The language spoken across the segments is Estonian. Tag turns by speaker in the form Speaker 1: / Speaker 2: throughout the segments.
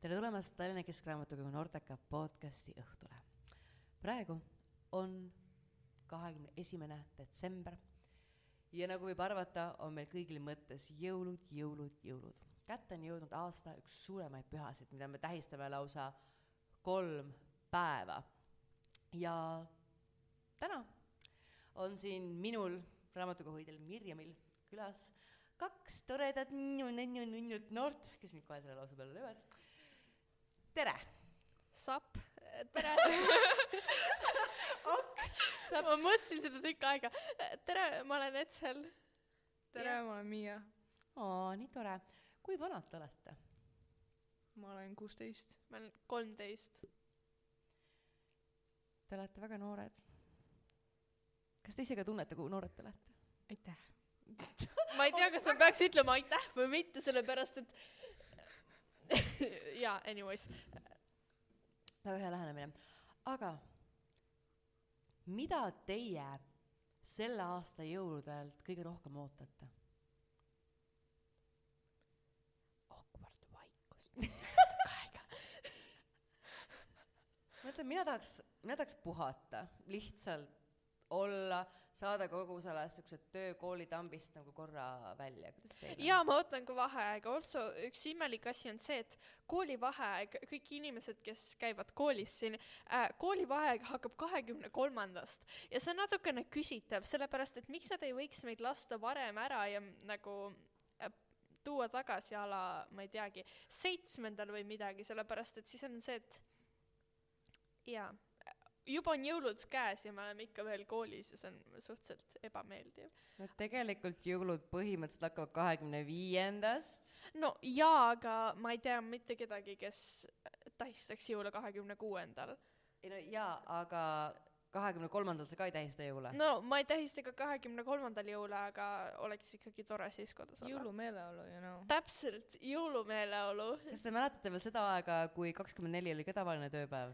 Speaker 1: tere tulemast Tallinna Keskraamatukogu Nortaka podcasti õhtule. praegu on kahekümne esimene detsember ja nagu võib arvata, on meil kõigil mõttes jõulud, jõulud, jõulud. kätte on jõudnud aasta üks suuremaid pühasid, mida me tähistame lausa kolm päeva. ja täna on siin minul, raamatukoguhoidjal Mirjamil külas kaks toredat nunnu-nunnu-nunnut noort, kes mind kohe selle lause peale löövad. tere!
Speaker 2: sapp , tere
Speaker 1: Ok, . sapp.
Speaker 2: ma mõtlesin seda tükk aega . tere , ma olen Etsel .
Speaker 3: tere , ma olen Miia ,
Speaker 1: aa , nii tore. kui vanad te olete?
Speaker 3: ma olen kuusteist .
Speaker 2: ma olen kolmteist .
Speaker 1: Te olete väga noored. kas te ise ka tunnete , kui noored te olete ?
Speaker 3: aitäh .
Speaker 2: ma ei tea , kas ma peaks ütlema aitäh või mitte , sellepärast et jaa , anyways .
Speaker 1: väga hea lähenemine. aga mida teie selle aasta jõuludelt kõige rohkem ootate? Awkward vaikus . ma ütlen , mina tahaks , mina tahaks puhata , lihtsalt olla , saada kogu sellest siukse töö koolitambist nagu korra välja , kuidas teil on ?
Speaker 2: jaa , ma ootan ka vaheaega . Also üks imelik asi on see , et koolivaheaeg , kõik inimesed , kes käivad koolis siin äh, , koolivaheaeg hakkab kahekümne kolmandast ja see on natukene küsitav , sellepärast et miks nad ei võiks meid lasta varem ära ja m- nagu äh, tuua tagasi a la , ma ei teagi , seitsmendal või midagi , sellepärast et siis on see , et jaa , juba on jõulud käes ja me oleme ikka veel koolis ja see on suhteliselt ebameeldiv .
Speaker 1: no tegelikult jõulud põhimõtteliselt hakkavad kahekümne viiendast .
Speaker 2: no jaa , aga ma ei tea mitte kedagi , kes tähistaks jõule kahekümne kuuendal .
Speaker 1: ei no jaa , aga kahekümne kolmandal sa ka ei tähista jõule no. ?
Speaker 2: no ma ei tähista ka kahekümne kolmandal jõule , aga oleks ikkagi tore siis kodus olla .
Speaker 3: jõulumeeleolu ja no .
Speaker 2: täpselt , jõulumeeleolu .
Speaker 1: kas te mäletate veel seda aega , kui kakskümmend neli oli ka tavaline tööpäev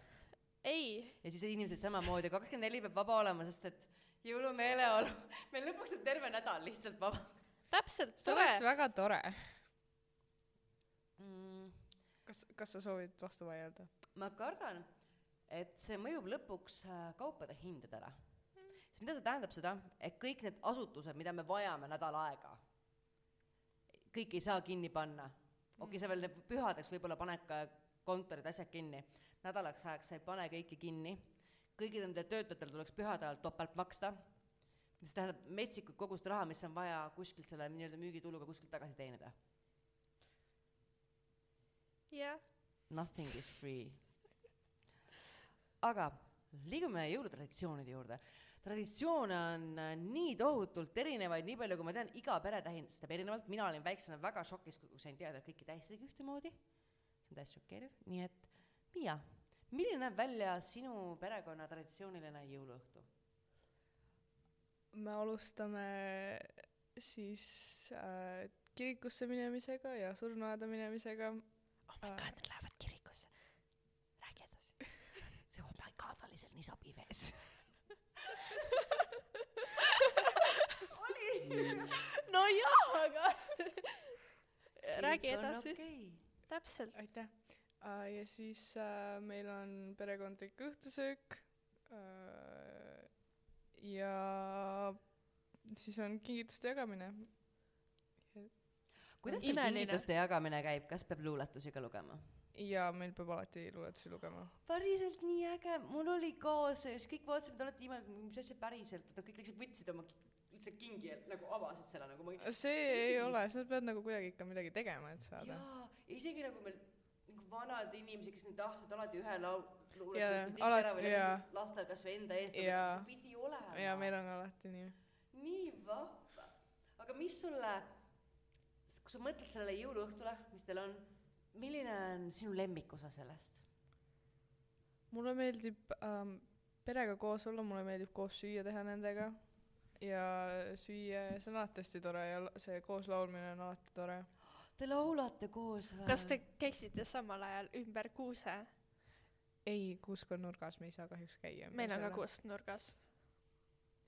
Speaker 2: ei ,
Speaker 1: ja siis inimesed samamoodi , aga kakskümmend neli peab vaba olema , sest et jõulumeeleolu , meil lõpuks on terve nädal lihtsalt vaba
Speaker 2: täpselt ,
Speaker 3: see
Speaker 2: tore
Speaker 3: oleks . väga tore .
Speaker 1: mm, .
Speaker 3: kas , kas sa soovid vastu vaielda ?
Speaker 1: ma kardan , et see mõjub lõpuks äh, kaupade hindadele . sest mida see tähendab seda , et kõik need asutused , mida me vajame nädal aega , kõik ei saa kinni panna . okei , sa veel pühadeks võib-olla paned ka kontorid , asjad kinni , nädalaks ajaks sa ei pane kõiki kinni , kõigil nendel töötajatel tuleks pühade ajal topelt maksta , mis tähendab metsikut kogust raha , mis on vaja kuskilt selle nii-öelda müügituluga kuskilt tagasi teenida .
Speaker 2: jah ,
Speaker 1: Nothing is free . aga liigume jõulutraditsioonide juurde . traditsioone on äh, nii tohutult erinevaid , nii palju kui ma tean , iga pere tähistab erinevalt , mina olin väiksena väga šokis , kui sain teada , et kõiki tähistadki ühtemoodi . see on täiesti šokeeriv , nii et Miia , milline näeb välja sinu perekonna traditsiooniline jõuluõhtu ?
Speaker 3: me alustame siis äh, kirikusse minemisega ja surnuaeda minemisega .
Speaker 1: oh
Speaker 3: my god, ,
Speaker 1: nad lähevad kirikusse . räägi edasi . see oh my god oli seal nii sobiv ees .
Speaker 2: no jaa , aga räägi edasi .
Speaker 1: Okay.
Speaker 2: täpselt .
Speaker 3: aitäh äh, . ja siis äh, meil on perekondlik õhtusöök äh, . ja siis on kingituste jagamine .
Speaker 1: kuidas teil
Speaker 2: Imeline.
Speaker 1: kingituste jagamine käib , kas peab luuletusi ka lugema ?
Speaker 3: ja meil peab alati luuletusi lugema .
Speaker 1: päriselt nii äge , mul oli ka see , siis kõik vaatasid , te olete imelik , mis asja päriselt , et noh , kõik lihtsalt võtsid oma ki- lihtsalt kingi ja nagu avasid selle nagu ma
Speaker 3: see ei ole , sa pead nagu kuidagi ikka midagi tegema , et saada .
Speaker 1: jaa , isegi nagu meil nagu vanad inimesed , kes nüüd tahtsid alati ühe laul ,
Speaker 3: Jaa,
Speaker 1: luuletuse
Speaker 3: alati-
Speaker 1: ära või
Speaker 3: jaa.
Speaker 1: lasid lastel kasvõi enda eest , aga nagu
Speaker 3: Jaa.
Speaker 1: see pidi olema .
Speaker 3: ja meil on alati nii .
Speaker 1: nii vahva . aga mis sulle , kui sa mõtled sellele jõuluõhtule , mis teil on , milline on sinu lemmikosa sellest ?
Speaker 3: mulle meeldib ähm, perega koos olla , mulle meeldib koos süüa teha nendega ja süüa , see on alati hästi tore ja la- see koos laulmine on alati tore .
Speaker 1: Te laulate koos või ?
Speaker 2: kas te käisite samal ajal ümber kuuse ?
Speaker 3: ei , kuusk on nurgas , me ei saa kahjuks käia .
Speaker 2: meil on ka . kuustnurgas .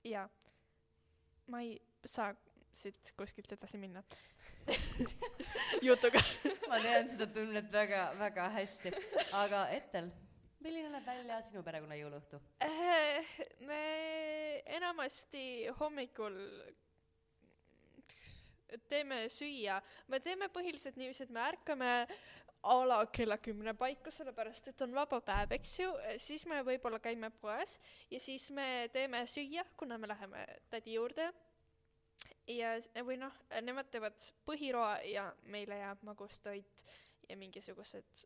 Speaker 2: jaa . ma ei saa siit kuskilt edasi minna . jutuga .
Speaker 1: ma tean seda tunnet väga , väga hästi . aga Ettel , milline näeb välja sinu perekonna jõuluõhtu ?
Speaker 2: Eh, me enamasti hommikul teeme süüa , me teeme põhiliselt niiviisi , et me ärkame a la kella kümne paiku , sellepärast et on vaba päev , eks ju , siis me võib-olla käime poes ja siis me teeme süüa , kuna me läheme tädi juurde . ja , või noh , nemad teevad põhiroa ja meile jääb magustoit ja mingisugused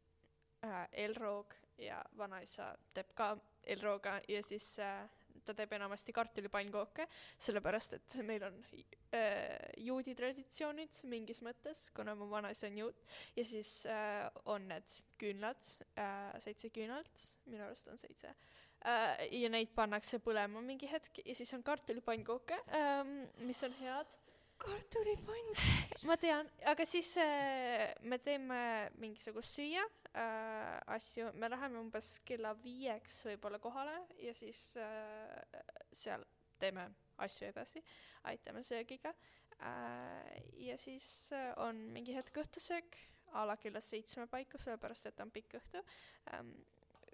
Speaker 2: äh, Elrog ja vanaisa teeb ka Elroga ja siis äh, ta teeb enamasti kartulipannkooke , sellepärast et meil on äh, juudi traditsioonid mingis mõttes , kuna mu vanaisa on juut ja siis äh, on need küünlad äh, , seitse küünalt , minu arust on seitse äh, . ja neid pannakse põlema mingi hetk ja siis on kartulipannkooke ähm, , mis on head .
Speaker 1: kartulipann .
Speaker 2: ma tean , aga siis äh, me teeme mingisugust süüa äh, , asju , me läheme umbes kella viieks võib-olla kohale ja siis äh, seal teeme asju edasi , aitame söögiga äh, . ja siis äh, on mingi hetk õhtusöök a la kella seitsme paiku , sellepärast et on pikk õhtu ähm, .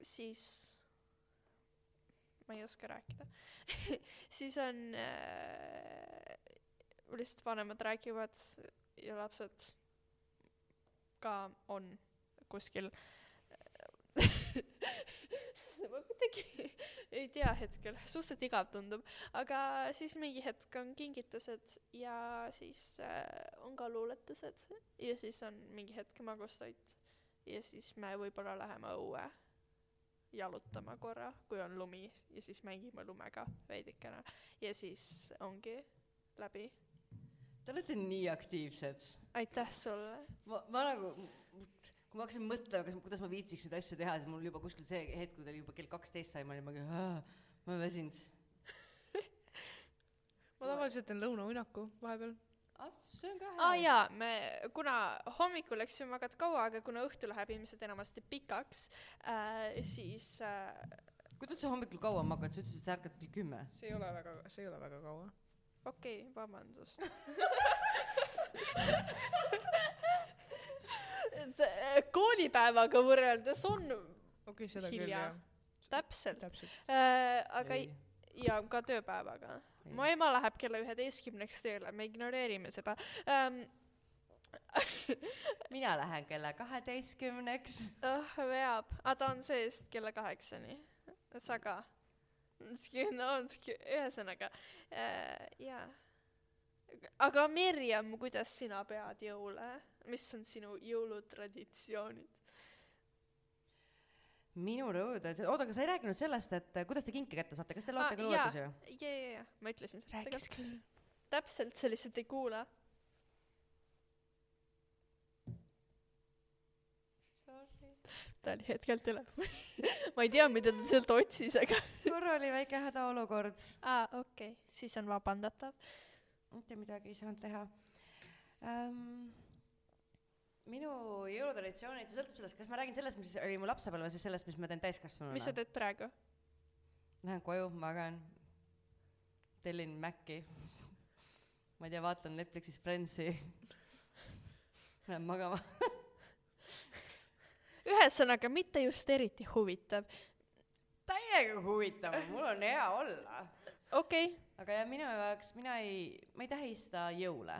Speaker 2: siis ma ei oska rääkida , siis on äh, lihtsalt vanemad räägivad ja lapsed ka on kuskil . ma kuidagi ei tea hetkel , suhteliselt igav tundub , aga siis mingi hetk on kingitused ja siis äh, on ka luuletused ja siis on mingi hetk magustoit ja siis me võib-olla läheme õue jalutama korra , kui on lumi ja siis mängime lumega veidikene ja siis ongi läbi
Speaker 1: Te olete nii aktiivsed .
Speaker 2: aitäh sulle .
Speaker 1: ma , ma nagu , kui ma hakkasin mõtlema , kas , kuidas ma viitsiks neid asju teha , siis mul juba kuskil see hetk , kui ta oli juba kell kaksteist sai , ma olin mingi , ma olen väsinud .
Speaker 3: ma tavaliselt teen lõunauinaku vahepeal .
Speaker 1: Ah, see on ka hea
Speaker 2: aa . jaa , me , kuna hommikul , eks ju , magad kaua , aga kuna õhtu läheb ilmselt enamasti pikaks äh, , siis äh,
Speaker 1: kuidas sa hommikul kaua magad , sa ütlesid , et sa ärkad kell kümme .
Speaker 3: see ei ole väga , see ei ole väga kaua .
Speaker 2: okei okay, , vabandust . et äh, koolipäevaga võrreldes on
Speaker 3: okei , seda
Speaker 2: Hilja.
Speaker 3: küll jah .
Speaker 2: täpselt
Speaker 3: täpselt .
Speaker 2: äh, , aga ei. , ja ka tööpäevaga . mu ema läheb kella üheteistkümneks tööle , me ignoreerime seda ähm, .
Speaker 1: mina lähen kella kaheteistkümneks .
Speaker 2: õh , veab , aga Ah, ta on seest kella kaheksani , sa ka . no ühesõnaga äh, , jaa . aga Mirjam , kuidas sina pead jõule , mis on sinu jõulutraditsioonid ?
Speaker 1: minu rõõd , oota , aga sa ei rääkinud sellest , et äh, kuidas te kinke kätte saate , kas te
Speaker 2: Aa,
Speaker 1: loete ka luuletusi või ?
Speaker 2: ja , ja , ja ma ütlesin seda
Speaker 3: rääkis
Speaker 2: tegelikult . täpselt , sa lihtsalt ei kuula . ta oli hetkel telefonis . ma ei tea , mida ta sealt otsis , aga .
Speaker 1: korra oli väike hädaolukord ,
Speaker 2: aa , okei okay. , siis on vabandatav .
Speaker 1: mitte midagi ei saanud teha ähm, . minu jõulutraditsioonid , see sõltub sellest , kas ma räägin sellest , mis oli mu lapsepõlves või sellest , mis ma teen täiskasvanuna .
Speaker 2: mis sa teed praegu ?
Speaker 1: Lähen koju , magan , tellin Maci . ma ei tea , vaatan Netflixis Friendsi . Lähen magama .
Speaker 2: ühesõnaga , mitte just eriti huvitav .
Speaker 1: täiega huvitav , mul on hea olla .
Speaker 2: okei okay. ,
Speaker 1: aga jah , minu jaoks , mina ei , ma ei tähista jõule .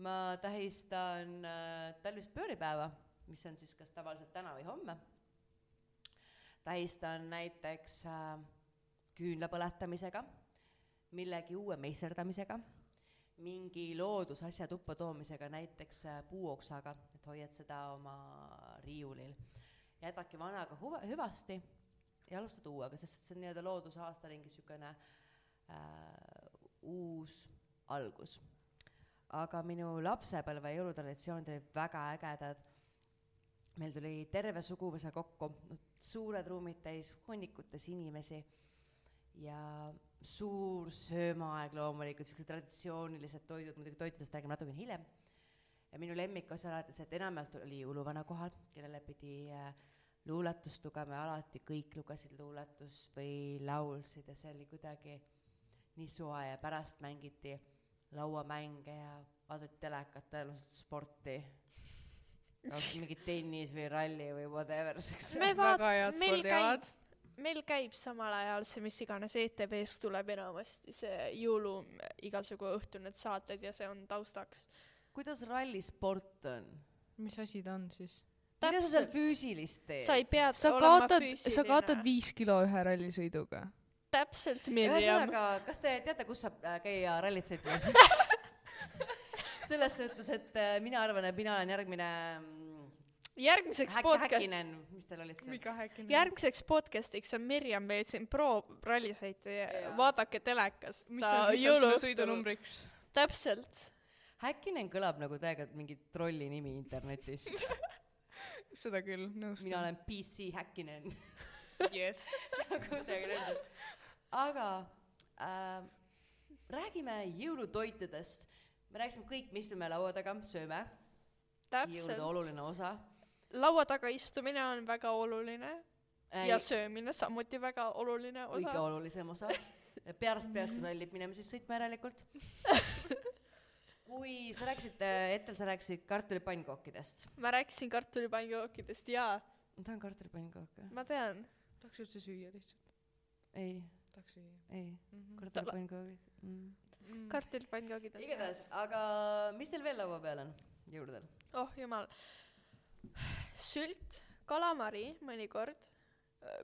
Speaker 1: ma tähistan äh, talvist pööripäeva , mis on siis kas tavaliselt täna või homme . tähistan näiteks äh, küünla põletamisega , millegi uue meisterdamisega , mingi loodusasja tuppa toomisega , näiteks äh, puuoksaga , et hoiad seda oma riiulil . jätadki vanaga huva , hüvasti ja alustad uuega , sest see on nii-öelda loodusaasta ringi niisugune äh, uus algus . aga minu lapsepõlve jõulutraditsioonid olid väga ägedad . meil tuli terve suguvõsa kokku , suured ruumid täis hunnikutes inimesi ja suur söömaaeg loomulikult , siuksed traditsioonilised toidud , muidugi toitudest räägime natuke hiljem . ja minu lemmik osa alates , et enamjaolt oli uluvana kohal , kellele pidi äh, luuletust lugema ja alati kõik lugesid luuletust või laulsid ja see oli kuidagi nii soe ja pärast mängiti lauamänge ja vaatad telekat tõenäoliselt sporti kas mingi tennis või ralli või whatever siukse
Speaker 2: Me vaat-
Speaker 3: väga head
Speaker 2: meil
Speaker 3: spordialad .
Speaker 2: meil käib samal ajal see , mis iganes ETV-s tuleb enamasti see jõulu igasugu õhtu need saated ja see on taustaks .
Speaker 1: kuidas rallisport on
Speaker 3: mis asi ta on siis ?
Speaker 1: mida sa seal
Speaker 2: täpselt ,
Speaker 1: füüsilist teed
Speaker 2: sa ei pea
Speaker 3: sa
Speaker 2: olema
Speaker 3: kaotad , sa kaotad
Speaker 2: füüsiline .
Speaker 3: viis kilo ühe rallisõiduga .
Speaker 2: täpselt , Mirjam .
Speaker 1: ühesõnaga kas te teate kus saab äh, käia rallit sõitmas selles suhtes et äh, mina arvan et mina olen järgmine mm,
Speaker 2: järgmiseks
Speaker 1: häk-
Speaker 2: podcast ,
Speaker 1: häkinen mis teil olid seal
Speaker 3: häkine
Speaker 2: järgmiseks podcastiks on Mirjam meil siin pro rallisõitja
Speaker 1: Jaa. ,
Speaker 2: vaadake telekast .
Speaker 3: mis on , mis on sinu ? sõidunumbriks ?
Speaker 2: täpselt ,
Speaker 1: häkinen kõlab nagu täiega mingi trolli nimi internetis
Speaker 3: seda küll , nõustun .
Speaker 1: mina olen PC häkinen
Speaker 3: jess .
Speaker 1: kuidagi nõnda . Nagu aga äh, räägime jõulutoitudest . me rääkisime kõik , mis me laua taga sööme , jõulude
Speaker 2: täpselt .
Speaker 1: oluline osa
Speaker 2: laua taga istumine on väga oluline
Speaker 1: äh, .
Speaker 2: ja söömine samuti väga oluline
Speaker 1: kõige
Speaker 2: osa .
Speaker 1: olulisem osa . peast peast , kui rallib minema , siis sõitma järelikult . kui sa rääkisid , Ettel , sa rääkisid kartulipannkookidest .
Speaker 2: ma rääkisin kartulipannkookidest ja
Speaker 1: ma tahan kartulipannkook .
Speaker 2: ma tean ,
Speaker 3: tahaks üldse süüa lihtsalt ,
Speaker 1: ei ,
Speaker 3: tahaks süüa
Speaker 1: ei ,
Speaker 2: Mhm.
Speaker 3: mm .
Speaker 1: kartulipannkookid mm. .
Speaker 3: -hmm.
Speaker 2: kartulipannkoogid on
Speaker 1: igatahes , aga mis teil veel laua peal on jõuludel ?
Speaker 2: oh jumal . sült , kalamari mõnikord ,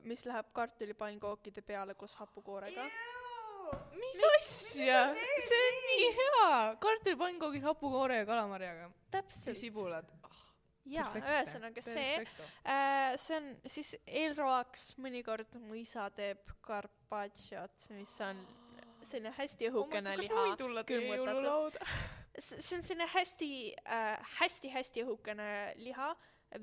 Speaker 2: mis läheb kartulipannkookide peale koos hapukoorega .
Speaker 3: mis asja , see on nii hea , kartulipannkogid hapukoore ja kalamarjaga ja
Speaker 2: täpselt .
Speaker 3: sibulad . Ah,
Speaker 2: jaa , ühesõnaga see , see on siis eelroaks mõnikord mõisa teeb carpacciot , mis on selline hästi
Speaker 3: Oh
Speaker 2: õhukene liha .
Speaker 3: tulla
Speaker 2: teie
Speaker 3: teie
Speaker 2: külmutatud.
Speaker 3: jõululauda ?
Speaker 2: see see on selline hästi äh, , hästi-hästi õhukene liha ,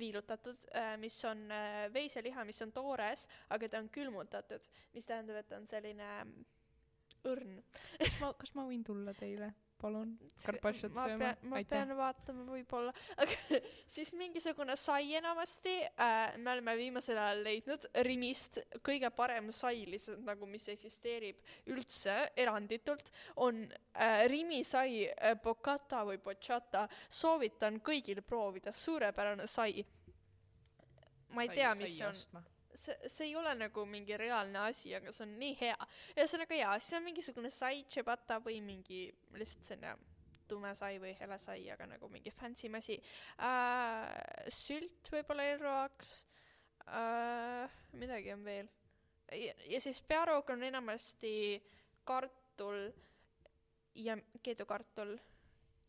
Speaker 2: viilutatud äh, , mis on äh, veiseliha , mis on toores , aga ta on külmutatud , mis tähendab , et ta on selline ähm, õrn .
Speaker 3: kas ma , kas ma võin tulla teile , palun ? Carpacciot
Speaker 2: ma
Speaker 3: sööma?
Speaker 2: pean , ma
Speaker 3: Aitäh.
Speaker 2: pean vaatama võib-olla , aga siis mingisugune sai enamasti äh, , me oleme viimasel ajal leidnud Rimist kõige parem sai lihtsalt nagu , mis eksisteerib üldse eranditult , on äh, Rimi sai äh, bocata või bocciata , soovitan kõigil proovida , suurepärane sai . ma ei tea , mis see on , see , see ei ole nagu mingi reaalne asi , aga see on nii hea . ühesõnaga jaa , see on mingisugune sai ciabatta või mingi lihtsalt selline tume sai või hele sai , aga nagu mingi fancy asi äh, . sült võib-olla eelroaks äh, , midagi on veel . ja siis pearoog on enamasti kartul ja keedukartul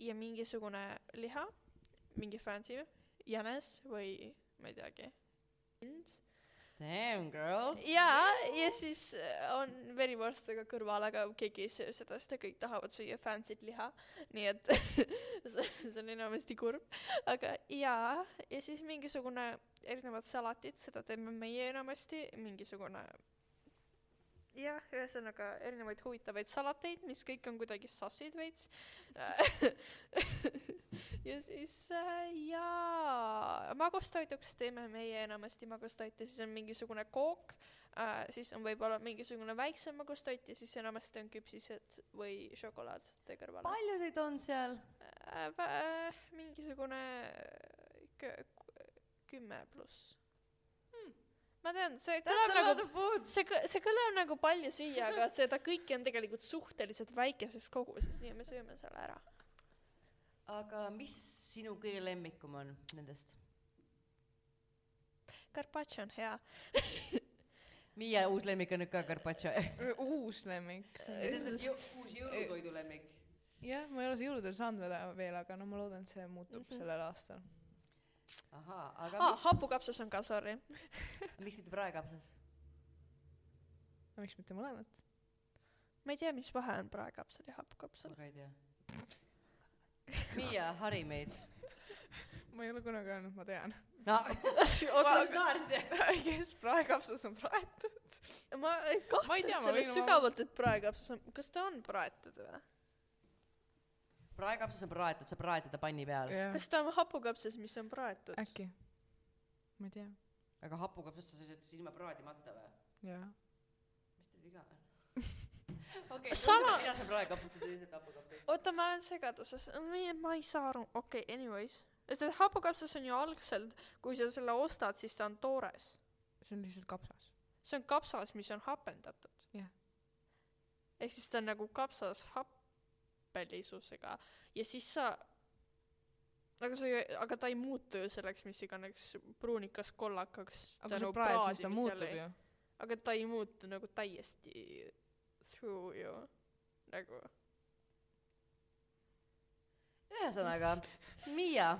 Speaker 2: ja mingisugune liha , mingi fancy jänes või ma ei teagi , hind
Speaker 1: Damn girl .
Speaker 2: jaa , ja siis äh, on verivorstega kõrval , aga keegi ei söö seda , sest kõik tahavad süüa fancy't liha . nii et see see on enamasti kurb . aga jaa , ja siis mingisugune erinevad salatid , seda teeme meie enamasti , mingisugune jah , ühesõnaga erinevaid huvitavaid salateid , mis kõik on kuidagi sassid veits . ja siis äh, jaa , magustoiduks teeme meie enamasti magustoite , siis on mingisugune kook äh, , siis on võib-olla mingisugune väiksem magustoit ja siis enamasti on küpsised või šokolaad tee kõrvale .
Speaker 1: palju teid on seal ?
Speaker 2: Äh, vä- äh, mingisugune äh, kö- k- kümme pluss ma tean see kõlab nagu
Speaker 1: food .
Speaker 2: see kõ- see kõlab nagu palju süüa aga seda kõike on tegelikult suhteliselt väikeses koguses nii et me sööme selle ära
Speaker 1: aga mis sinu kõige lemmikum on nendest ?
Speaker 2: carpaccio on hea
Speaker 1: Miia uus lemmik on nüüd ka carpaccio .
Speaker 3: uus lemmik .
Speaker 1: see on see uus jõulutoidu lemmik .
Speaker 3: jah , ma ei ole seda jõuludel saanud veel , veel , aga no ma loodan , et see muutub
Speaker 2: Mhm.
Speaker 3: sellel aastal .
Speaker 1: ahaa , aga
Speaker 2: aa hapukapsas on ka sorry
Speaker 1: miks mitte praekapsas ?
Speaker 3: no miks mitte mõlemat ?
Speaker 2: ma ei tea mis vahe on praekapsal ja hapukapsal
Speaker 1: ma ka ei tea . Miia , hari meid .
Speaker 3: ma ei ole kunagi öelnud , ma tean .
Speaker 1: no ,
Speaker 2: Oota,
Speaker 1: naersid jah ?
Speaker 3: kes praekapsas on praetud ?
Speaker 2: ma
Speaker 3: Ma ei tea,
Speaker 2: kahtlen
Speaker 3: ma
Speaker 2: selles
Speaker 3: võin oma-
Speaker 2: sügavalt et praekapsas on kas ta on praetud või
Speaker 1: praekapsas on praetud , sa praed teda panni peal ,
Speaker 2: kas ta on hapukapsas mis on praetud
Speaker 3: äkki ? ma ei tea .
Speaker 1: aga hapukapsast sa sööd siis ilma praadimata või ?
Speaker 3: jaa .
Speaker 1: mis teil viga on ? okei
Speaker 2: Sama-
Speaker 1: mina saan praegu hoopis teise hapukapsast .
Speaker 2: oota , ma olen segaduses , ma ei saa aru , okei okay, , anyways . sest et hapukapsas on ju algselt , kui sa selle ostad , siis ta on toores .
Speaker 3: see on lihtsalt kapsas .
Speaker 2: see on kapsas , mis on hapendatud
Speaker 3: Jah. .
Speaker 2: ehk siis ta on nagu kapsas happelisusega ja siis sa , aga sa ju , aga ta ei muutu ju selleks , mis iganes pruunikas kollakaks .
Speaker 3: aga kui sa praed , siis ta muutub ju .
Speaker 2: aga ta ei muutu nagu täiesti through ju , nagu .
Speaker 1: ühesõnaga , Miia ,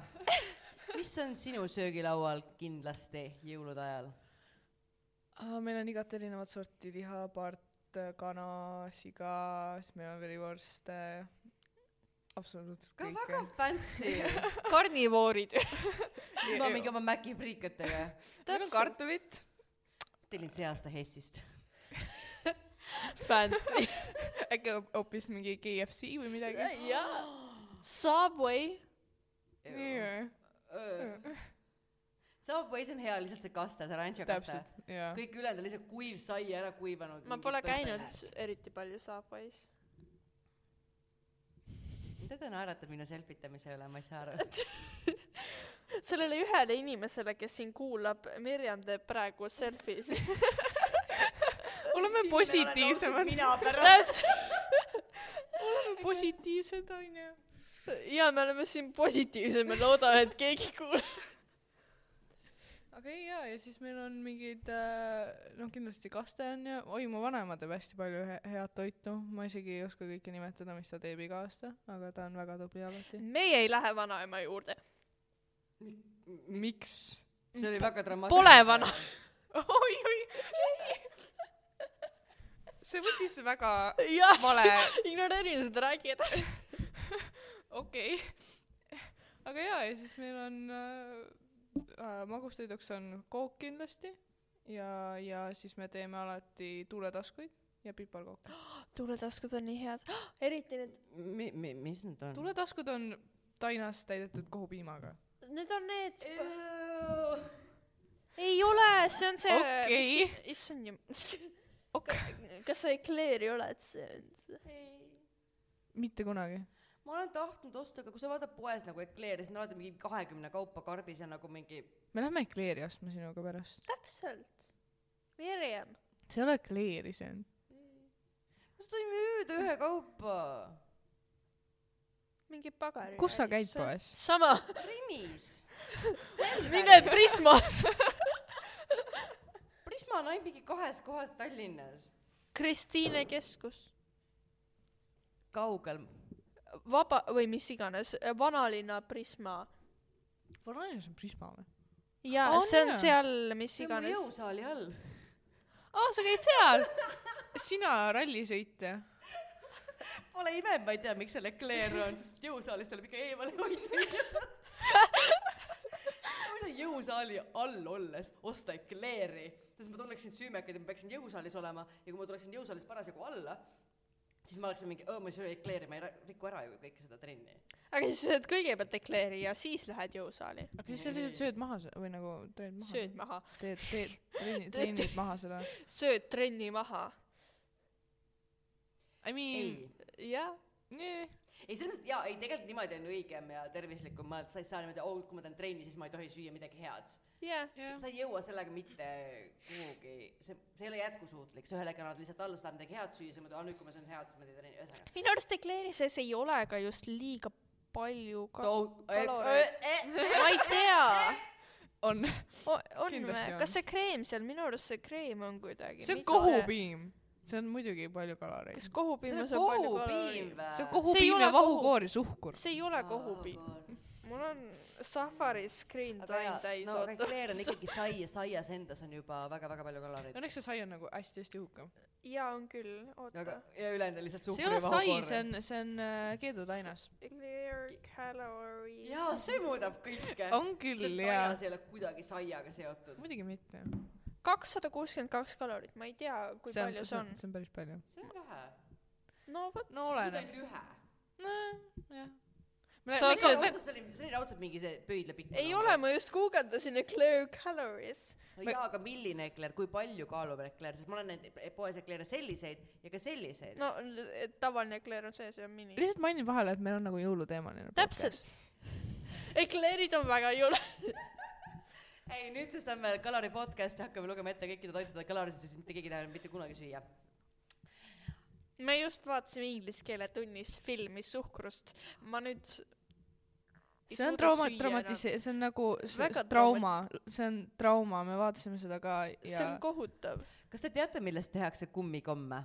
Speaker 1: mis on sinu söögilaual kindlasti jõulude ajal ?
Speaker 3: Ah, meil on igat erinevat sorti liha , part , kana , siga , siis meil on verivorste , absoluutselt
Speaker 1: ka väga
Speaker 3: kõike .
Speaker 1: fancy .
Speaker 2: karnivoorid .
Speaker 1: ma mingi oma Maci priikatega .
Speaker 3: meil on kartulit .
Speaker 1: tellin see aasta Hessist .
Speaker 2: Fancy .
Speaker 3: äkki hoop- hoopis mingi KFC või midagi .
Speaker 2: jaa . Subway .
Speaker 3: nii või ?
Speaker 1: Subway's on hea lihtsalt see kaste , see rancho kaste .
Speaker 3: täpselt , jaa .
Speaker 1: kõik ülejäänud on lihtsalt kuiv sai ära kuivanud .
Speaker 2: ma pole käinud eriti palju Subway's .
Speaker 1: Te te naerate minu selfitamise üle , ma ei saa aru .
Speaker 2: sellele ühele inimesele , kes siin kuulab , Mirjam teeb praegu selfis .
Speaker 3: oleme positiivsemad . mina oleme positiivsed , onju .
Speaker 2: ja me oleme siin positiivsed , ma loodan , et keegi kuuleb .
Speaker 3: aga ei jaa , ja siis meil on mingid äh, noh , kindlasti kaste on ja , oi , mu vanaema teeb hästi palju he head toitu , ma isegi ei oska kõike nimetada , mis ta teeb iga aasta , aga ta on väga tubli alati .
Speaker 2: meie ei lähe vanaema juurde .
Speaker 3: miks ?
Speaker 1: see oli väga dramaatiline .
Speaker 2: Pole vana. .
Speaker 3: oi , oi , ei . see võttis väga
Speaker 2: jah ,
Speaker 3: vale ,
Speaker 2: ignoreerin seda , räägi edasi .
Speaker 3: okei okay. . aga jaa , ja siis meil on äh, äh, magustoiduks on kook kindlasti ja , ja siis me teeme alati tuuletaskuid ja piparkooke .
Speaker 2: tuuletaskud on nii head , eriti need ,
Speaker 1: mi- , mi- , mis need on ?
Speaker 3: tuletaskud on tainas täidetud kohupiimaga .
Speaker 2: need on need , ei ole , see on see
Speaker 3: Okei. ,
Speaker 2: issand jumal .
Speaker 3: Ok.
Speaker 2: kas sa ekleeri oled söönud ?
Speaker 3: mitte kunagi .
Speaker 1: ma olen tahtnud osta , aga kui sa vaatad poes nagu ekleeri , siis on alati mingi kahekümne kaupa karbis ja nagu mingi
Speaker 3: me lähme ekleeri ostma sinuga pärast .
Speaker 2: täpselt , Mirjam .
Speaker 3: see ei ole ekleeri , see on .
Speaker 1: kas ta ei müüda ühekaupa ?
Speaker 2: mingi pagar .
Speaker 3: kus sa käid ? poes ?
Speaker 2: sama .
Speaker 1: Primis .
Speaker 2: mine . Prismas .
Speaker 1: Prisma on ainult mingi kahes kohas Tallinnas .
Speaker 2: Kristiine keskus ,
Speaker 1: kaugel .
Speaker 2: Vaba või mis iganes , vanalinna Prisma .
Speaker 3: Vanalinnas on Prisma või ?
Speaker 2: jaa ,
Speaker 3: On
Speaker 2: see on
Speaker 3: jaa.
Speaker 2: seal , mis
Speaker 1: see on mul
Speaker 2: iganes .
Speaker 1: jõusaali all .
Speaker 3: aa , sa käid seal ? sina rallisõitja .
Speaker 1: Pole ime , et ma ei tea , miks seal ekleer on , sest jõusaalist tuleb ikka eemale hoida . kui sa jõusaali all olles osta ekleeri , sest ma tunneksin süümekaid ja ma peaksin jõusaalis olema ja kui ma tuleksin jõusaalist parasjagu alla , siis ma oleksin mingi , ma ei söö ekleeri , ma ei ra- riku ära ju kõike seda trenni .
Speaker 2: aga siis sa sööd kõigepealt ekleeri ja siis lähed jõusaali .
Speaker 3: aga siis sa lihtsalt sööd maha se- või nagu teed maha .
Speaker 2: sööd maha ,
Speaker 3: teed , teed , treenid , treenid maha seda .
Speaker 2: sööd trenni maha .
Speaker 3: I mean , eh,
Speaker 1: ei ,
Speaker 2: jah ,
Speaker 3: nee.
Speaker 1: ei selles mõttes jaa , ei tegelikult niimoodi on õigem ja tervislikum , ma , sa ei saa niimoodi , oo , kui ma teen trenni , siis ma ei tohi süüa midagi head .
Speaker 2: jah .
Speaker 1: sa sa ei jõua sellega mitte kuhugi , see , see ei ole jätkusuutlik , sa ühel hetkel annad lihtsalt alla , sa tahad midagi head süüa , siis mõtled , aa nüüd , kui ma söön head , siis ma teen trenni , ühesõnaga .
Speaker 2: minu arust ekleeri sees ei ole ka just liiga palju ka- .
Speaker 1: eh,
Speaker 2: kaloreid .
Speaker 1: kaloreid .
Speaker 2: ma ei tea .
Speaker 3: on .
Speaker 2: on
Speaker 3: Kindlasti
Speaker 2: või
Speaker 3: on. ?
Speaker 2: kas see kreem seal , minu arust see kreem on kuidagi .
Speaker 3: see on . kohupiim . see on muidugi palju kaloreid .
Speaker 2: kas kohupiimas
Speaker 1: see
Speaker 2: on
Speaker 1: on
Speaker 2: palju
Speaker 1: kohupiim
Speaker 2: kaloreid ?
Speaker 1: või ?
Speaker 3: see on
Speaker 2: See ei
Speaker 3: kohupiim
Speaker 2: ole
Speaker 3: ja
Speaker 2: kohu-
Speaker 3: vahukoor ja suhkur .
Speaker 2: see ei ole kohupiim . mul on Safari screen time täis
Speaker 1: no aga ekleer on
Speaker 2: ootamas .
Speaker 1: ikkagi sai ja saias endas on juba väga-väga palju kaloreid .
Speaker 3: Õnneks see sai on nagu hästi-hästi õhukam .
Speaker 2: jaa , on küll , oota
Speaker 1: aga . ja ülejäänud on lihtsalt
Speaker 3: see ei ole
Speaker 1: suhkru ja
Speaker 3: sai ,
Speaker 1: vahukoor
Speaker 3: see . on , see on äh, keedutainas .
Speaker 2: Clear calories .
Speaker 1: jaa , see muudab kõike .
Speaker 3: on küll jaa .
Speaker 1: see ei ole kuidagi saiaga seotud .
Speaker 3: muidugi mitte .
Speaker 2: kakssada kuuskümmend kaks kalorit , ma ei tea , kui see palju see on .
Speaker 3: see on päris palju .
Speaker 1: see on vähe .
Speaker 2: no vot ,
Speaker 3: no
Speaker 1: seda
Speaker 3: oleneb .
Speaker 1: ainult ühe .
Speaker 3: nojah .
Speaker 2: Sa
Speaker 1: see
Speaker 2: oled-
Speaker 1: on otseselt selline , see oli raudselt mingi see nagu pöidlapikkune .
Speaker 2: ei ole , ma just guugeldasin Eclair calories .
Speaker 1: no jaa , aga milline ekler , kui palju kaalub ekler , sest ma olen näinud e- poes eklere selliseid ja ka selliseid .
Speaker 2: no l- et tavaline Eclair on sees ja mini .
Speaker 3: lihtsalt mainin vahele , et meil on nagu jõuluteemaline .
Speaker 2: täpselt .. Eclairid on väga jõle .
Speaker 1: ei , nüüd siis lähme Kalari podcast'i , hakkame lugema ette kõikide toitude kalorisid , siis mitte keegi ei taha enam mitte kunagi süüa .
Speaker 2: me just vaatasime inglise keele tunnis filmi Suhkrust . ma nüüd .
Speaker 3: see on trauma , traumatise- , see on nagu s-
Speaker 2: Väga
Speaker 3: s- trauma , see on trauma , me vaatasime seda ka
Speaker 2: see
Speaker 3: ja
Speaker 2: on kohutav .
Speaker 1: kas te teate , millest tehakse kummikomme ?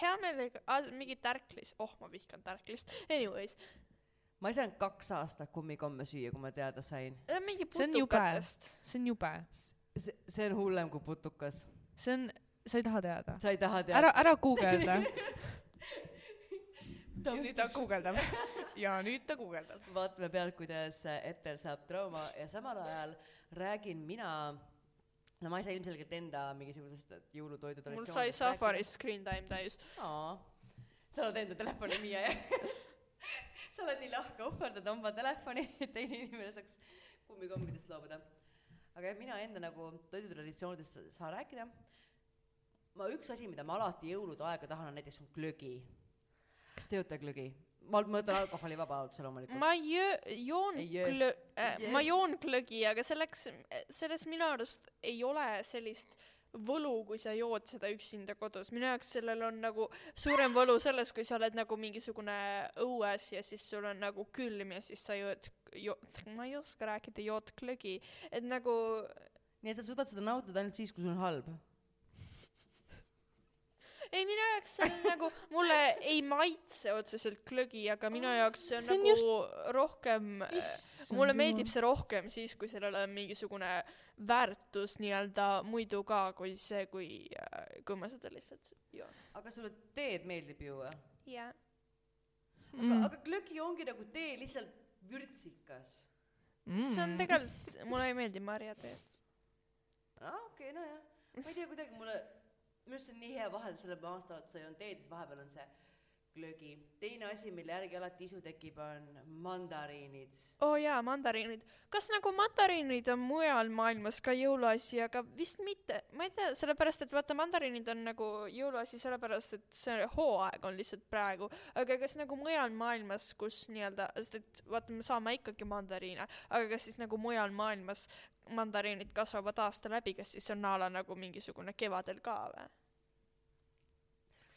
Speaker 2: hea meelega ah, , mingi tärklis , oh ma vihkan tärklist . Anyways ,
Speaker 1: ma ei saanud kaks aastat kummikomme süüa , kui ma teada sain .
Speaker 2: mingi
Speaker 3: see on jube
Speaker 2: putukatest .,
Speaker 3: see on jube ,
Speaker 1: see , see on hullem kui putukas .
Speaker 3: see on , sa ei taha teada .
Speaker 1: sa ei taha teada
Speaker 3: ära ,? ära guugelda .
Speaker 4: guugeldab ja nüüd ta guugeldab .
Speaker 1: vaatame pealt , kuidas Etel saab trauma ja samal ajal räägin mina , no ma ei saa ilmselgelt enda mingisugusest jõulutoidu
Speaker 2: mul sai Safaris screen time täis .
Speaker 1: aa , sa oled enda telefoni viia jah ? sa oled nii lahke , ohverdad oma telefoni , et teine inimene saaks kummikommidest loobuda . aga jah , mina enda nagu toidutraditsioonidest sa- saan rääkida . ma üks asi , mida ma alati jõulude aega tahan , on näiteks on glögi . kas te joote glögi ? ma mõtlen alkoholivaba otse loomulikult .
Speaker 2: ma jö- , joon
Speaker 1: Ei jö-
Speaker 2: klõ- ,
Speaker 1: jö-
Speaker 2: ma joon klõgi , aga selleks , selles minu arust ei ole sellist võlu , kui sa jood seda üksinda kodus . minu jaoks sellel on nagu suurem võlu selles , kui sa oled nagu mingisugune õues ja siis sul on nagu külm ja siis sa jood , jo- , ma ei oska rääkida , jood klõgi . et nagu
Speaker 1: nii et sa suudad seda nautida ainult siis , kui sul on halb .
Speaker 2: ei , minu jaoks see on nagu , mulle ei maitse otseselt klõgi , aga minu jaoks see on
Speaker 3: See on
Speaker 2: nagu rohkem mulle meeldib
Speaker 3: see .
Speaker 2: see rohkem siis , kui sellel on mingisugune väärtus nii-öelda muidu ka , kui see , kui , kui ma seda lihtsalt joon .
Speaker 1: aga sulle teed meeldib juua
Speaker 2: jah .
Speaker 1: mm. ?
Speaker 3: Mm.
Speaker 1: aga glögi ongi nagu tee lihtsalt vürtsikas .
Speaker 3: Mm.
Speaker 2: see on . tegelikult , mulle ei meeldi marjateed .
Speaker 1: aa ah, okei okay, , nojah . ma ei tea , kuidagi mulle , minu arust see on nii hea vahel , selle ma aasta otsa joon teed , siis vahepeal on see glögi . teine asi , mille järgi alati isu tekib , on mandariinid .
Speaker 2: oo oh, jaa , mandariinid . kas nagu mandariinid on mujal maailmas ka jõuluasi , aga vist mitte . ma ei tea , sellepärast et vaata , mandariinid on nagu jõuluasi sellepärast , et see hooaeg on lihtsalt praegu . aga kas nagu mujal maailmas , kus nii-öelda , sest et vaata , me saame ikkagi mandariine , aga kas siis nagu mujal maailmas mandariinid kasvavad aasta läbi , kas siis on a la nagu mingisugune kevadel ka või ?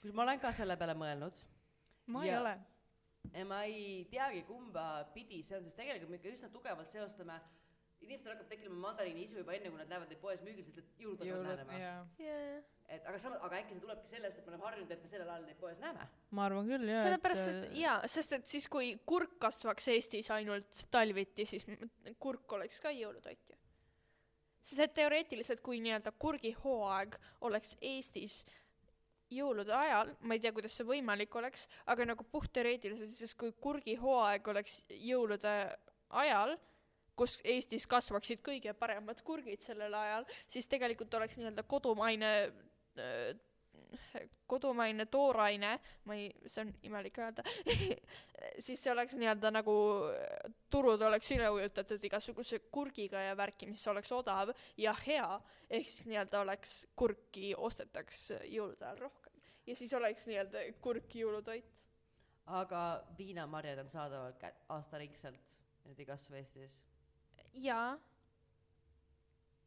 Speaker 1: kus ma olen ka selle peale mõelnud
Speaker 3: ma ei
Speaker 1: Jaa.
Speaker 3: ole .
Speaker 1: ja ma ei teagi , kumba pidi see on , sest tegelikult me ikka üsna tugevalt seostame inimestel hakkab tekkima mandariini isu juba enne , kui nad näevad neid poes müügil , sest et jõulud hakkavad
Speaker 3: jõulud ,
Speaker 1: lähenema .
Speaker 3: jaa .
Speaker 2: Yeah.
Speaker 1: et aga samas , aga äkki see tulebki sellest , et me oleme harjunud , et me sellel ajal neid poes näeme .
Speaker 3: ma arvan küll , äh, jaa .
Speaker 2: sellepärast , et . äh, jaa , sest et siis , kui kurk kasvaks Eestis ainult talviti , siis m- kurk oleks ka jõulutoit ju . sest et teoreetiliselt , kui nii-öelda kurgihooaeg oleks Eestis jõulude ajal , ma ei tea , kuidas see võimalik oleks , aga nagu puhtteoreetiliselt , siis kui kurgihooaeg oleks jõulude ajal , kus Eestis kasvaksid kõige paremad kurgid sellel ajal , siis tegelikult oleks nii-öelda kodumaine öö, kodumaine tooraine , ma ei , see on imelik öelda , siis see oleks nii-öelda nagu äh, turud oleks üle ujutatud igasuguse kurgiga ja värki , mis oleks odav ja hea , ehk siis nii-öelda oleks kurki ostetaks jõulude ajal rohkem ja siis oleks nii-öelda kurk jõulutoit .
Speaker 1: aga viinamarjad on saadaval kä- , aastaringselt , need ei kasva Eestis .
Speaker 2: jaa .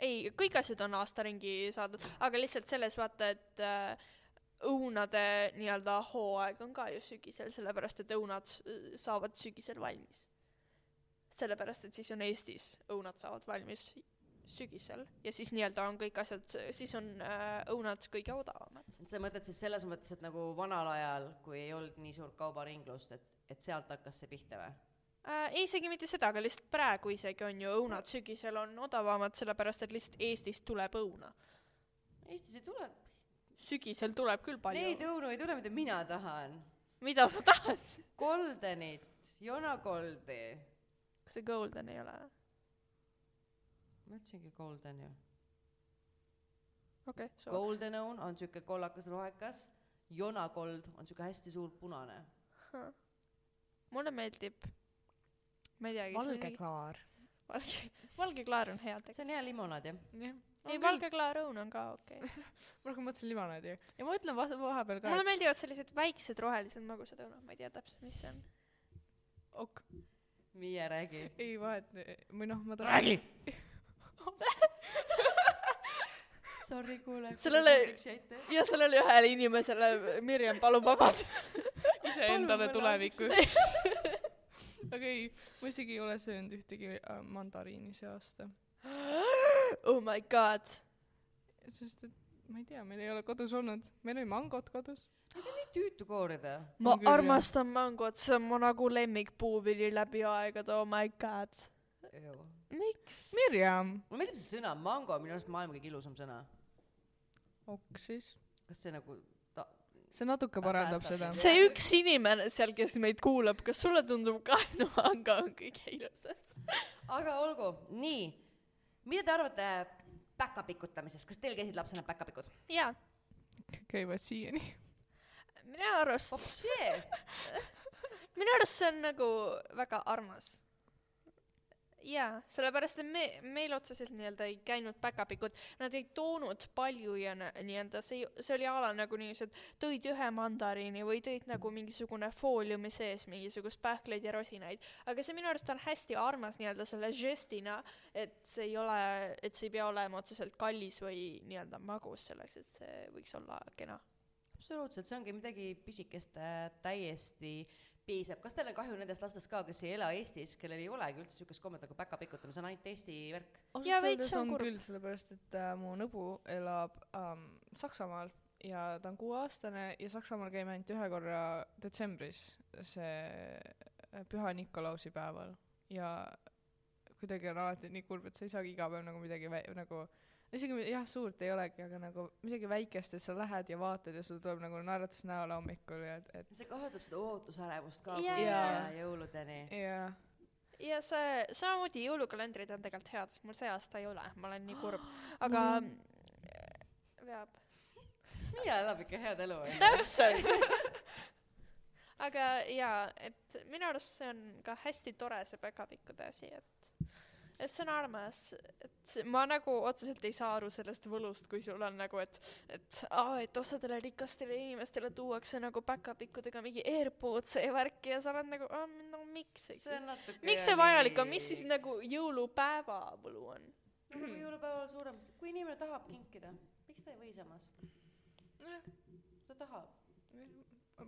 Speaker 2: ei , kõik asjad on aasta ringi saadud , aga lihtsalt selles vaata , et äh, õunade nii-öelda hooaeg on ka ju sügisel , sellepärast et õunad s- saavad sügisel valmis . sellepärast , et siis on Eestis õunad saavad valmis sügisel ja siis nii-öelda on kõik asjad , siis on äh, õunad kõige odavamad .
Speaker 1: et sa mõtled siis selles mõttes , et nagu vanal ajal , kui ei olnud nii suurt kaubaringlust , et , et sealt hakkas see pihta või ?
Speaker 2: Äh, ei , isegi mitte seda , aga lihtsalt praegu isegi on ju õunad sügisel on odavamad , sellepärast et lihtsalt Eestist tuleb õuna .
Speaker 1: Eestis ei tule ,
Speaker 2: sügisel tuleb küll palju .
Speaker 1: neid õunu ei tule , mida mina tahan .
Speaker 2: mida sa tahad ?
Speaker 1: Goldenit , jonakoldi .
Speaker 2: kas see golden ei ole ?
Speaker 1: ma ütlesingi golden ju .
Speaker 2: okei okay, , soo .
Speaker 1: Golden õun on sihuke kollakas rohekas , jonakold on sihuke hästi suur punane .
Speaker 2: mulle meeldib ma ei teagi .
Speaker 4: valge . klaar .
Speaker 2: valge , valge klaar on hea tegelikult .
Speaker 1: see on hea limonaad jah .
Speaker 3: jah .
Speaker 2: ei , valge klaar õun on ka okei okay. .
Speaker 3: ma rohkem mõtlesin limonaadi . ja ma ütlen vahe- vahepeal ka ,
Speaker 2: mulle meeldivad sellised väiksed rohelised magusad õunad , ma ei tea täpselt , mis see on .
Speaker 3: et ok ,
Speaker 1: Miia , räägi .
Speaker 3: ei vahet , või noh , ma tahan .
Speaker 1: Sorry , kuule .
Speaker 2: Sellele- ja sellele ühele inimesele , Mirjam , palun vabandust .
Speaker 1: Palun,
Speaker 3: iseendale
Speaker 1: palun,
Speaker 3: tulevikuks . okei , ma isegi ei ole söönud ühtegi äh, mandariini see aasta ,
Speaker 2: Oh my god .
Speaker 3: sest et ma ei tea , meil ei ole kodus olnud , meil oli mangot kodus .
Speaker 1: nii tüütu koorida .
Speaker 2: ma
Speaker 3: On küll, jah.
Speaker 2: armastan mangot , see on mu nagu lemmikpuuvili läbi aegade , oh my god .
Speaker 1: mulle
Speaker 2: miks ?
Speaker 3: Mirjam .
Speaker 1: meeldib see sõna mango , minu arust maailma kõige ilusam sõna .
Speaker 3: ok siis ,
Speaker 1: kas see nagu ta- ,
Speaker 3: see natuke parandab
Speaker 1: Säästab
Speaker 3: seda .
Speaker 1: mind.
Speaker 2: see üks inimene seal , kes meid kuulab , kas sulle tundub ka , et manga on kõige ilusam ?
Speaker 1: aga olgu , nii . mida te arvate päkapikutamisest , kas teil käisid lapsena päkapikud ?
Speaker 2: jaa ,
Speaker 3: käivad siiani .
Speaker 2: minu arust , minu arust see on nagu väga armas . jaa , sellepärast et me , meil otseselt nii-öelda ei käinud päkapikud , nad ei toonud palju ja nä- nii-öelda see , see oli ala nagu niiviisi , et tõid ühe mandariini või tõid nagu mingisugune fooliumi sees mingisugust pähkleid ja rosinaid , aga see minu arust on hästi armas nii-öelda selle žestina , et see ei ole , et see ei pea olema otseselt kallis või nii-öelda magus selleks , et see võiks olla kena .
Speaker 1: absoluutselt , see ongi midagi pisikest äh, täiesti piisab , kas teil on kahju nendest lastest ka , kes ei ela Eestis , kellel ei olegi üldse niisugust kommet nagu päkapikutamine , see on ainult Eesti värk ?
Speaker 2: Jaa, veits nagu on
Speaker 3: on
Speaker 2: kurb.
Speaker 3: küll , sellepärast et äh, mu nõbu elab ähm, Saksamaal ja ta on kuueaastane ja Saksamaal käime ainult ühe korra detsembris , see äh, Püha Nikolausi päeval ja kuidagi on alati nii kurb , et sa ei saagi iga päev nagu midagi vä- , nagu isegi mi- jah , suurt ei olegi , aga nagu midagi väikest , et sa lähed ja vaatad ja sul tuleb nagu naeratus näole hommikul ja et , et
Speaker 1: see kaotab seda ootusärevust ka , kui
Speaker 2: Jaa.
Speaker 1: ei ole jõuludeni .
Speaker 3: ja
Speaker 2: ja see , samamoodi jõulukalendrid on tegelikult head , mul see aasta ei ole , ma olen nii kurb , aga äh, veab .
Speaker 1: Miia elab ikka head elu , onju .
Speaker 2: täpselt . aga jaa , et minu arust see on ka hästi tore , see päkapikkude asi , et et see on armas , et see- ma nagu otseselt ei saa aru sellest võlust , kui sul on nagu , et et aa , et osadele rikastele inimestele tuuakse nagu päkapikkudega mingi AirPods ja värki ja sa oled nagu , no miks , eks ju
Speaker 1: on natuke
Speaker 2: miks see vajalik on , mis siis nagu jõulupäeva võlu on ?
Speaker 1: nagu jõulupäeval suurem , sest kui inimene tahab kinkida , miks ta ei või samas ? ta tahab .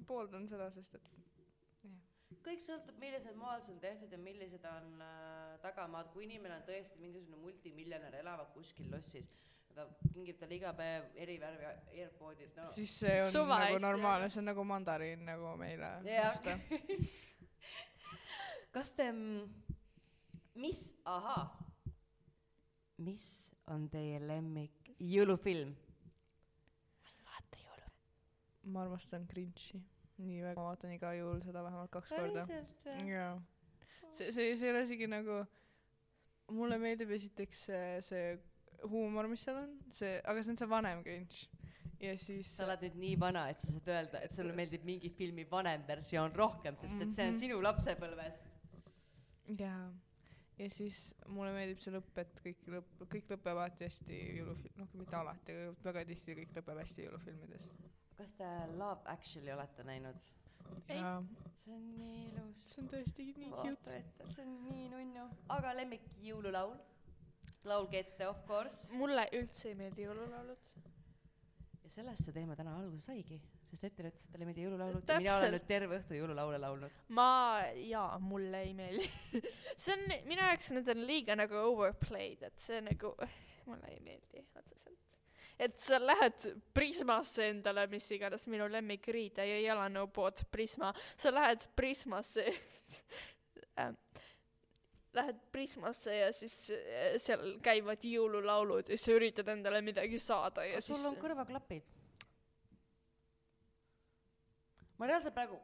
Speaker 3: pooldan seda , sest et
Speaker 1: kõik sõltub , millisel maal see on tehtud ja millised on äh, tagamaad , kui inimene on tõesti mingisugune multimiljonär , elavad kuskil lossis , ta kingib talle iga päev eri värvi AirPodid , no
Speaker 3: siis see
Speaker 2: Suva,
Speaker 3: on Suva, nagu
Speaker 2: eks ju.
Speaker 3: normaalne , see on nagu mandariin nagu meile
Speaker 1: Jaa.
Speaker 3: osta.
Speaker 1: kas te , mm, mis , ahaa , mis on teie lemmik jõulufilm ?
Speaker 2: vaata jõulu .
Speaker 3: ma armastan Grinchi nii väga , ma vaatan iga jõul seda vähemalt kaks korda .
Speaker 1: päriselt või ?
Speaker 3: jaa . see , see , see ei ole isegi nagu , mulle meeldib esiteks see , see huumor , mis seal on , see , aga see on see vanem Grinch . ja siis
Speaker 1: sa oled nüüd nii vana , et sa saad öelda , et sulle meeldib mingi filmi vanem versioon rohkem , sest et see on
Speaker 3: Mhm.
Speaker 1: sinu lapsepõlvest .
Speaker 3: jaa . ja siis mulle meeldib see lõpp , et kõik lõpp , kõik lõpeb alati hästi jõulufilm , noh , mitte alati , aga väga tihti kõik lõpeb hästi jõulufilmides .
Speaker 1: kas te Love Actually olete näinud ?
Speaker 2: Ei.
Speaker 3: jaa ,
Speaker 1: see on nii ilus .
Speaker 3: see on tõesti nii cute .
Speaker 1: vaata ette , see on nii nunnu . aga lemmik jõululaul ? laulge ette , of course .
Speaker 2: mulle üldse ei meeldi jõululaulud .
Speaker 1: ja sellest see teema täna alguse saigi , sest ette te ütlesite , et teile meeldib jõululaulud ja mina olen
Speaker 2: Täpselt.
Speaker 1: nüüd terve õhtu jõululaule laulnud .
Speaker 2: ma , jaa , mulle ei meeldi . see on , minu jaoks need on liiga nagu overplayed , et see nagu , mulle ei meeldi otseselt . et sa lähed Prismasse endale , mis iganes minu lemmikriide ja jalanõupood Prisma , sa lähed Prismasse ähm, Lähed Prismasse ja siis äh, seal käivad jõululaulud ja sa üritad endale midagi saada ja siis
Speaker 1: sul on kõrvaklapid . ma reaalselt praegu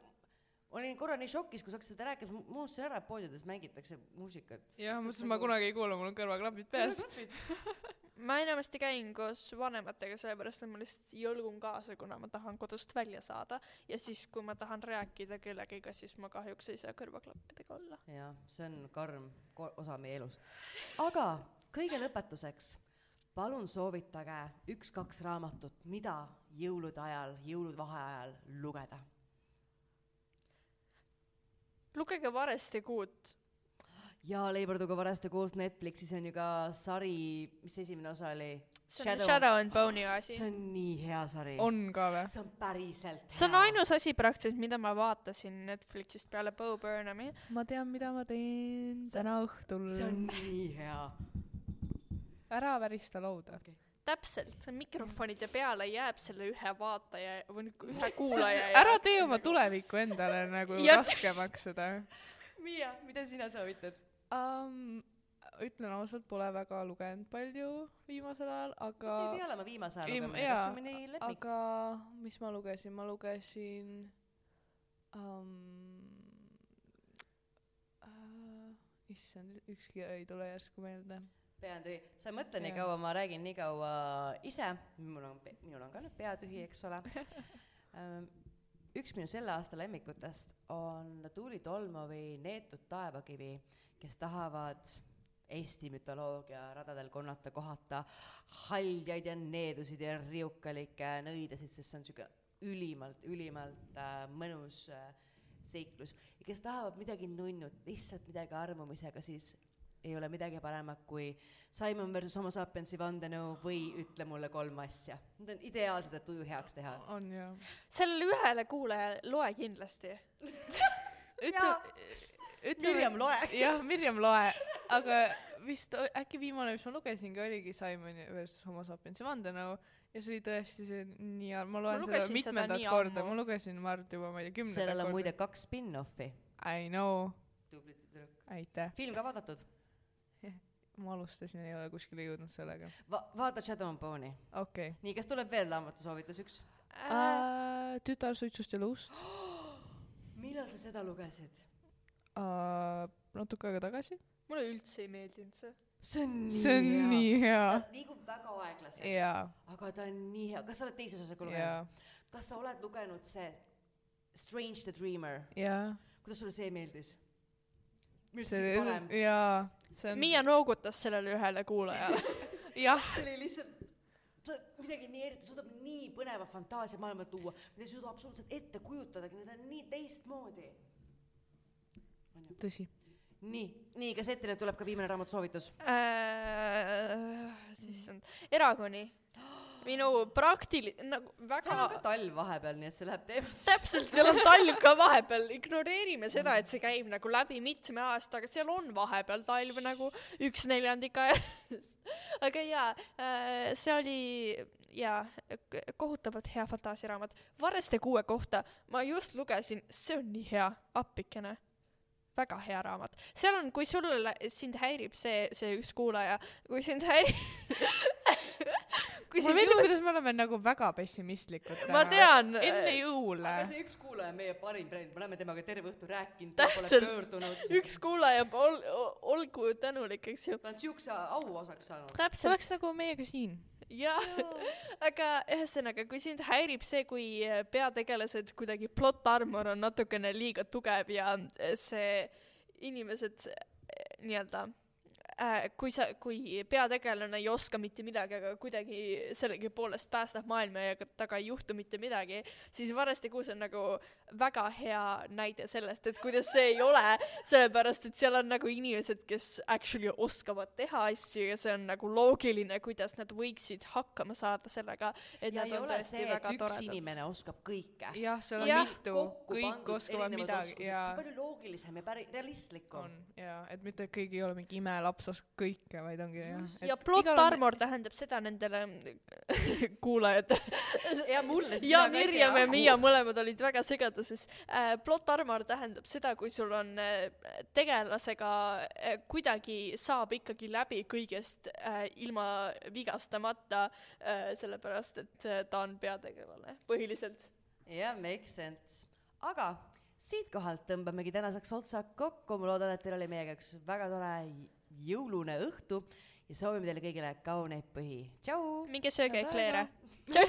Speaker 1: olin korra nii šokis , kui sa hakkasid seda rääkima , ma unustasin ära , et poodides mängitakse muusikat . nagu-
Speaker 3: jah , ma ütlesin , ma kunagi ei kuula , mul on kõrvaklapid peas .
Speaker 2: ma ma enamasti käin koos vanematega , sellepärast et ma lihtsalt jõlgun kaasa , kuna ma tahan kodust välja saada ja siis , kui ma tahan rääkida kellegagi , siis ma kahjuks ei saa kõrvaklappidega olla .
Speaker 1: jah , see on karm ko- osa meie elust . aga kõige lõpetuseks palun soovitage üks-kaks raamatut , mida jõulude ajal , jõuluvaheajal lugeda .
Speaker 2: lugege Varesti kuut .
Speaker 1: ja Leiborduga varaste koos Netflixis on ju ka sari , mis see esimene osa oli ?
Speaker 2: see on Shadow, Shadow and Bone'i asi
Speaker 1: see . on nii hea sari .
Speaker 3: on ka või ?
Speaker 1: see on päriselt
Speaker 2: see on . ainus asi praktiliselt , mida ma vaatasin Netflixist peale Bo Burnhami .
Speaker 3: ma tean , mida ma teen
Speaker 1: See-
Speaker 3: täna õhtul
Speaker 1: see on nii hea .
Speaker 3: ära värista lauda .
Speaker 2: täpselt , mikrofonide peale jääb selle ühe vaataja või nagu ühe kuulaja .
Speaker 3: ära tee oma . tulevikku endale nagu
Speaker 2: Ja-
Speaker 3: raskemaks seda
Speaker 1: Miia , mida sina soovitad ?
Speaker 3: um, . ütlen ausalt , pole väga lugenud palju viimasel ajal , aga
Speaker 1: see ei pea olema viimase aja
Speaker 3: Ei,
Speaker 1: lugemine ,
Speaker 3: jaa,
Speaker 1: kas on mõni lemmik ?
Speaker 3: aga mis ma lugesin , ma lugesin um, . Äh, issand , ükski ei tule järsku meelde .
Speaker 1: pean tühi , sa ei mõtle nii
Speaker 3: Jaa.
Speaker 1: kaua , ma räägin nii kaua ise , mul on , minul on ka nüüd pea tühi , eks ole . üks minu selle aasta lemmikutest on Tuuli Tolmovi Neetud taevakivi , kes tahavad Eesti mütoloogia radadel konnata , kohata haljaid ja needusid ja riukalikke nõidasid , sest see on sihuke ülimalt , ülimalt äh, mõnus äh, seiklus . ja kes tahavad midagi nunnut , lihtsalt midagi armumisega , siis ei ole midagi paremat kui Simon versus Homo sapiensi vandenõu või Ütle mulle kolm asja . Need on ideaalsed , et tuju heaks teha .
Speaker 3: on ju .
Speaker 2: sellele ühele kuulajale loe kindlasti .
Speaker 3: ütle , ütle .
Speaker 1: Mirjam , loe .
Speaker 3: jah , Mirjam Loe , aga vist o- äkki viimane , mis ma lugesingi , oligi Simon versus Homo sapiensi vandenõu ja see oli tõesti see nii , ma loen seda
Speaker 2: lugesin seda
Speaker 3: mitmendat
Speaker 2: nii
Speaker 3: korda ,
Speaker 2: ammu.
Speaker 3: ma lugesin , ma arvan , et juba ma ei tea , kümnendat
Speaker 1: sellel on
Speaker 3: korda
Speaker 1: muide . kaks spin-offi .
Speaker 3: I know ,
Speaker 1: tubli tüdruk .
Speaker 3: aitäh ,
Speaker 1: film ka vaadatud
Speaker 3: ma alustasin , ei ole kuskile jõudnud sellega ,
Speaker 1: Va ? vaata Shadow and Bone'i .
Speaker 3: okei
Speaker 1: nii , kas tuleb veel raamatusoovitus üks ?
Speaker 2: Äh,
Speaker 3: okay. . tütar suitsust ja lust
Speaker 1: millal sa seda lugesid ?
Speaker 3: uh, , natuke aega tagasi .
Speaker 2: mulle üldse ei meeldinud see .
Speaker 1: see on nii
Speaker 3: see on
Speaker 1: hea .
Speaker 3: nii hea ,
Speaker 1: ta liigub väga aeglaselt
Speaker 3: Ah. jaa ,
Speaker 1: aga ta on nii hea , kas sa oled teises osas ka
Speaker 3: jaa
Speaker 1: lugenud ?, kas sa oled lugenud see Strange the Dreamer ,
Speaker 3: jaa .
Speaker 1: kuidas sulle see meeldis ? minu arust see oli
Speaker 3: jaa
Speaker 1: parem ,,
Speaker 3: see on ,
Speaker 2: Miia noogutas sellele ühele kuulajale .
Speaker 3: jah ,
Speaker 1: see oli lihtsalt , sa midagi nii eriti , suudab nii põneva fantaasiamaailma tuua , mida sa ei suuda absoluutselt ette kujutadagi , need on nii teistmoodi .
Speaker 3: tõsi .
Speaker 1: nii , nii , kas Etrile tuleb ka viimane raamatusoovitus ?
Speaker 2: Äh, issand , Erakoni . minu praktil- , nagu
Speaker 1: seal on ka
Speaker 2: väga
Speaker 1: talv vahepeal , nii et see läheb teemasse .
Speaker 2: täpselt , seal on talv ka vahepeal , ignoreerime seda , et see käib nagu läbi mitme aasta , aga seal on vahepeal talv nagu üks neljandik ajast . aga jaa , see oli jaa , kohutavalt hea fantaasiaraamat . Varreste kuue kohta ma just lugesin , see on nii hea , appikene väga hea raamat , seal on , kui sul , sind häirib see , see üks kuulaja , kui sind häirib kui
Speaker 3: mulle
Speaker 2: sind
Speaker 3: meeldib ,
Speaker 2: juhus-
Speaker 3: kuidas me oleme nagu väga pessimistlikud .
Speaker 2: ma . tean ,
Speaker 3: enne jõule .
Speaker 1: aga see üks kuulaja on meie parim friend , me oleme temaga terve õhtu rääkinud , ta pole
Speaker 2: Täpselt.
Speaker 1: pöördunud .
Speaker 2: üks kuulaja ol, , olgu tänulik , eks ju .
Speaker 1: ta on siukse auosaks saanud .
Speaker 3: see
Speaker 2: täpselt ,
Speaker 3: oleks nagu meiega siin .
Speaker 2: jah . aga ühesõnaga , kui sind häirib see , kui peategelased kuidagi plot armor on natukene liiga tugev ja see inimesed eh, nii-öelda äh, kui sa , kui peategelane ei oska mitte midagi , aga kuidagi sellegipoolest päästab maailma ja ka- temaga ei juhtu mitte midagi , siis Varastikuus on nagu väga hea näide sellest , et kuidas see ei ole , sellepärast et seal on nagu inimesed , kes actually oskavad teha asju ja see on nagu loogiline , kuidas nad võiksid hakkama saada sellega , et
Speaker 1: ja
Speaker 2: nad
Speaker 1: ei
Speaker 2: on
Speaker 1: ole
Speaker 2: tõesti
Speaker 1: see , et
Speaker 2: väga
Speaker 1: üks toredad.
Speaker 2: toredad .
Speaker 1: inimene oskab kõike .
Speaker 3: jah , seal on
Speaker 2: Jah,
Speaker 3: mitu , kõik oskavad midagi
Speaker 1: see
Speaker 3: ja
Speaker 1: on palju loogilisem ja päri- , realistlikum
Speaker 3: on . ja et mitte keegi ei ole mingi imelaps , oskab kõike , vaid ongi jah .
Speaker 2: ja plot armor tähendab seda nendele kuulajatele .
Speaker 1: ja mulle siis
Speaker 2: ja Mirjam ja Miia . mõlemad olid väga segaduses äh, . plot armor tähendab seda , kui sul on äh, tegelasega äh, kuidagi saab ikkagi läbi kõigest äh, ilma vigastamata äh, , sellepärast et äh, ta on peategelane põhiliselt .
Speaker 1: jah , makes sense . aga siitkohalt tõmbamegi tänaseks otsad kokku , ma loodan , et teil oli meiega üks väga tore jõulune õhtu ja
Speaker 5: ja soovime teile kõigile kauneid põhi . tšau .
Speaker 2: minge sööge
Speaker 1: Head aega.
Speaker 2: ekleere . tšau , tšau .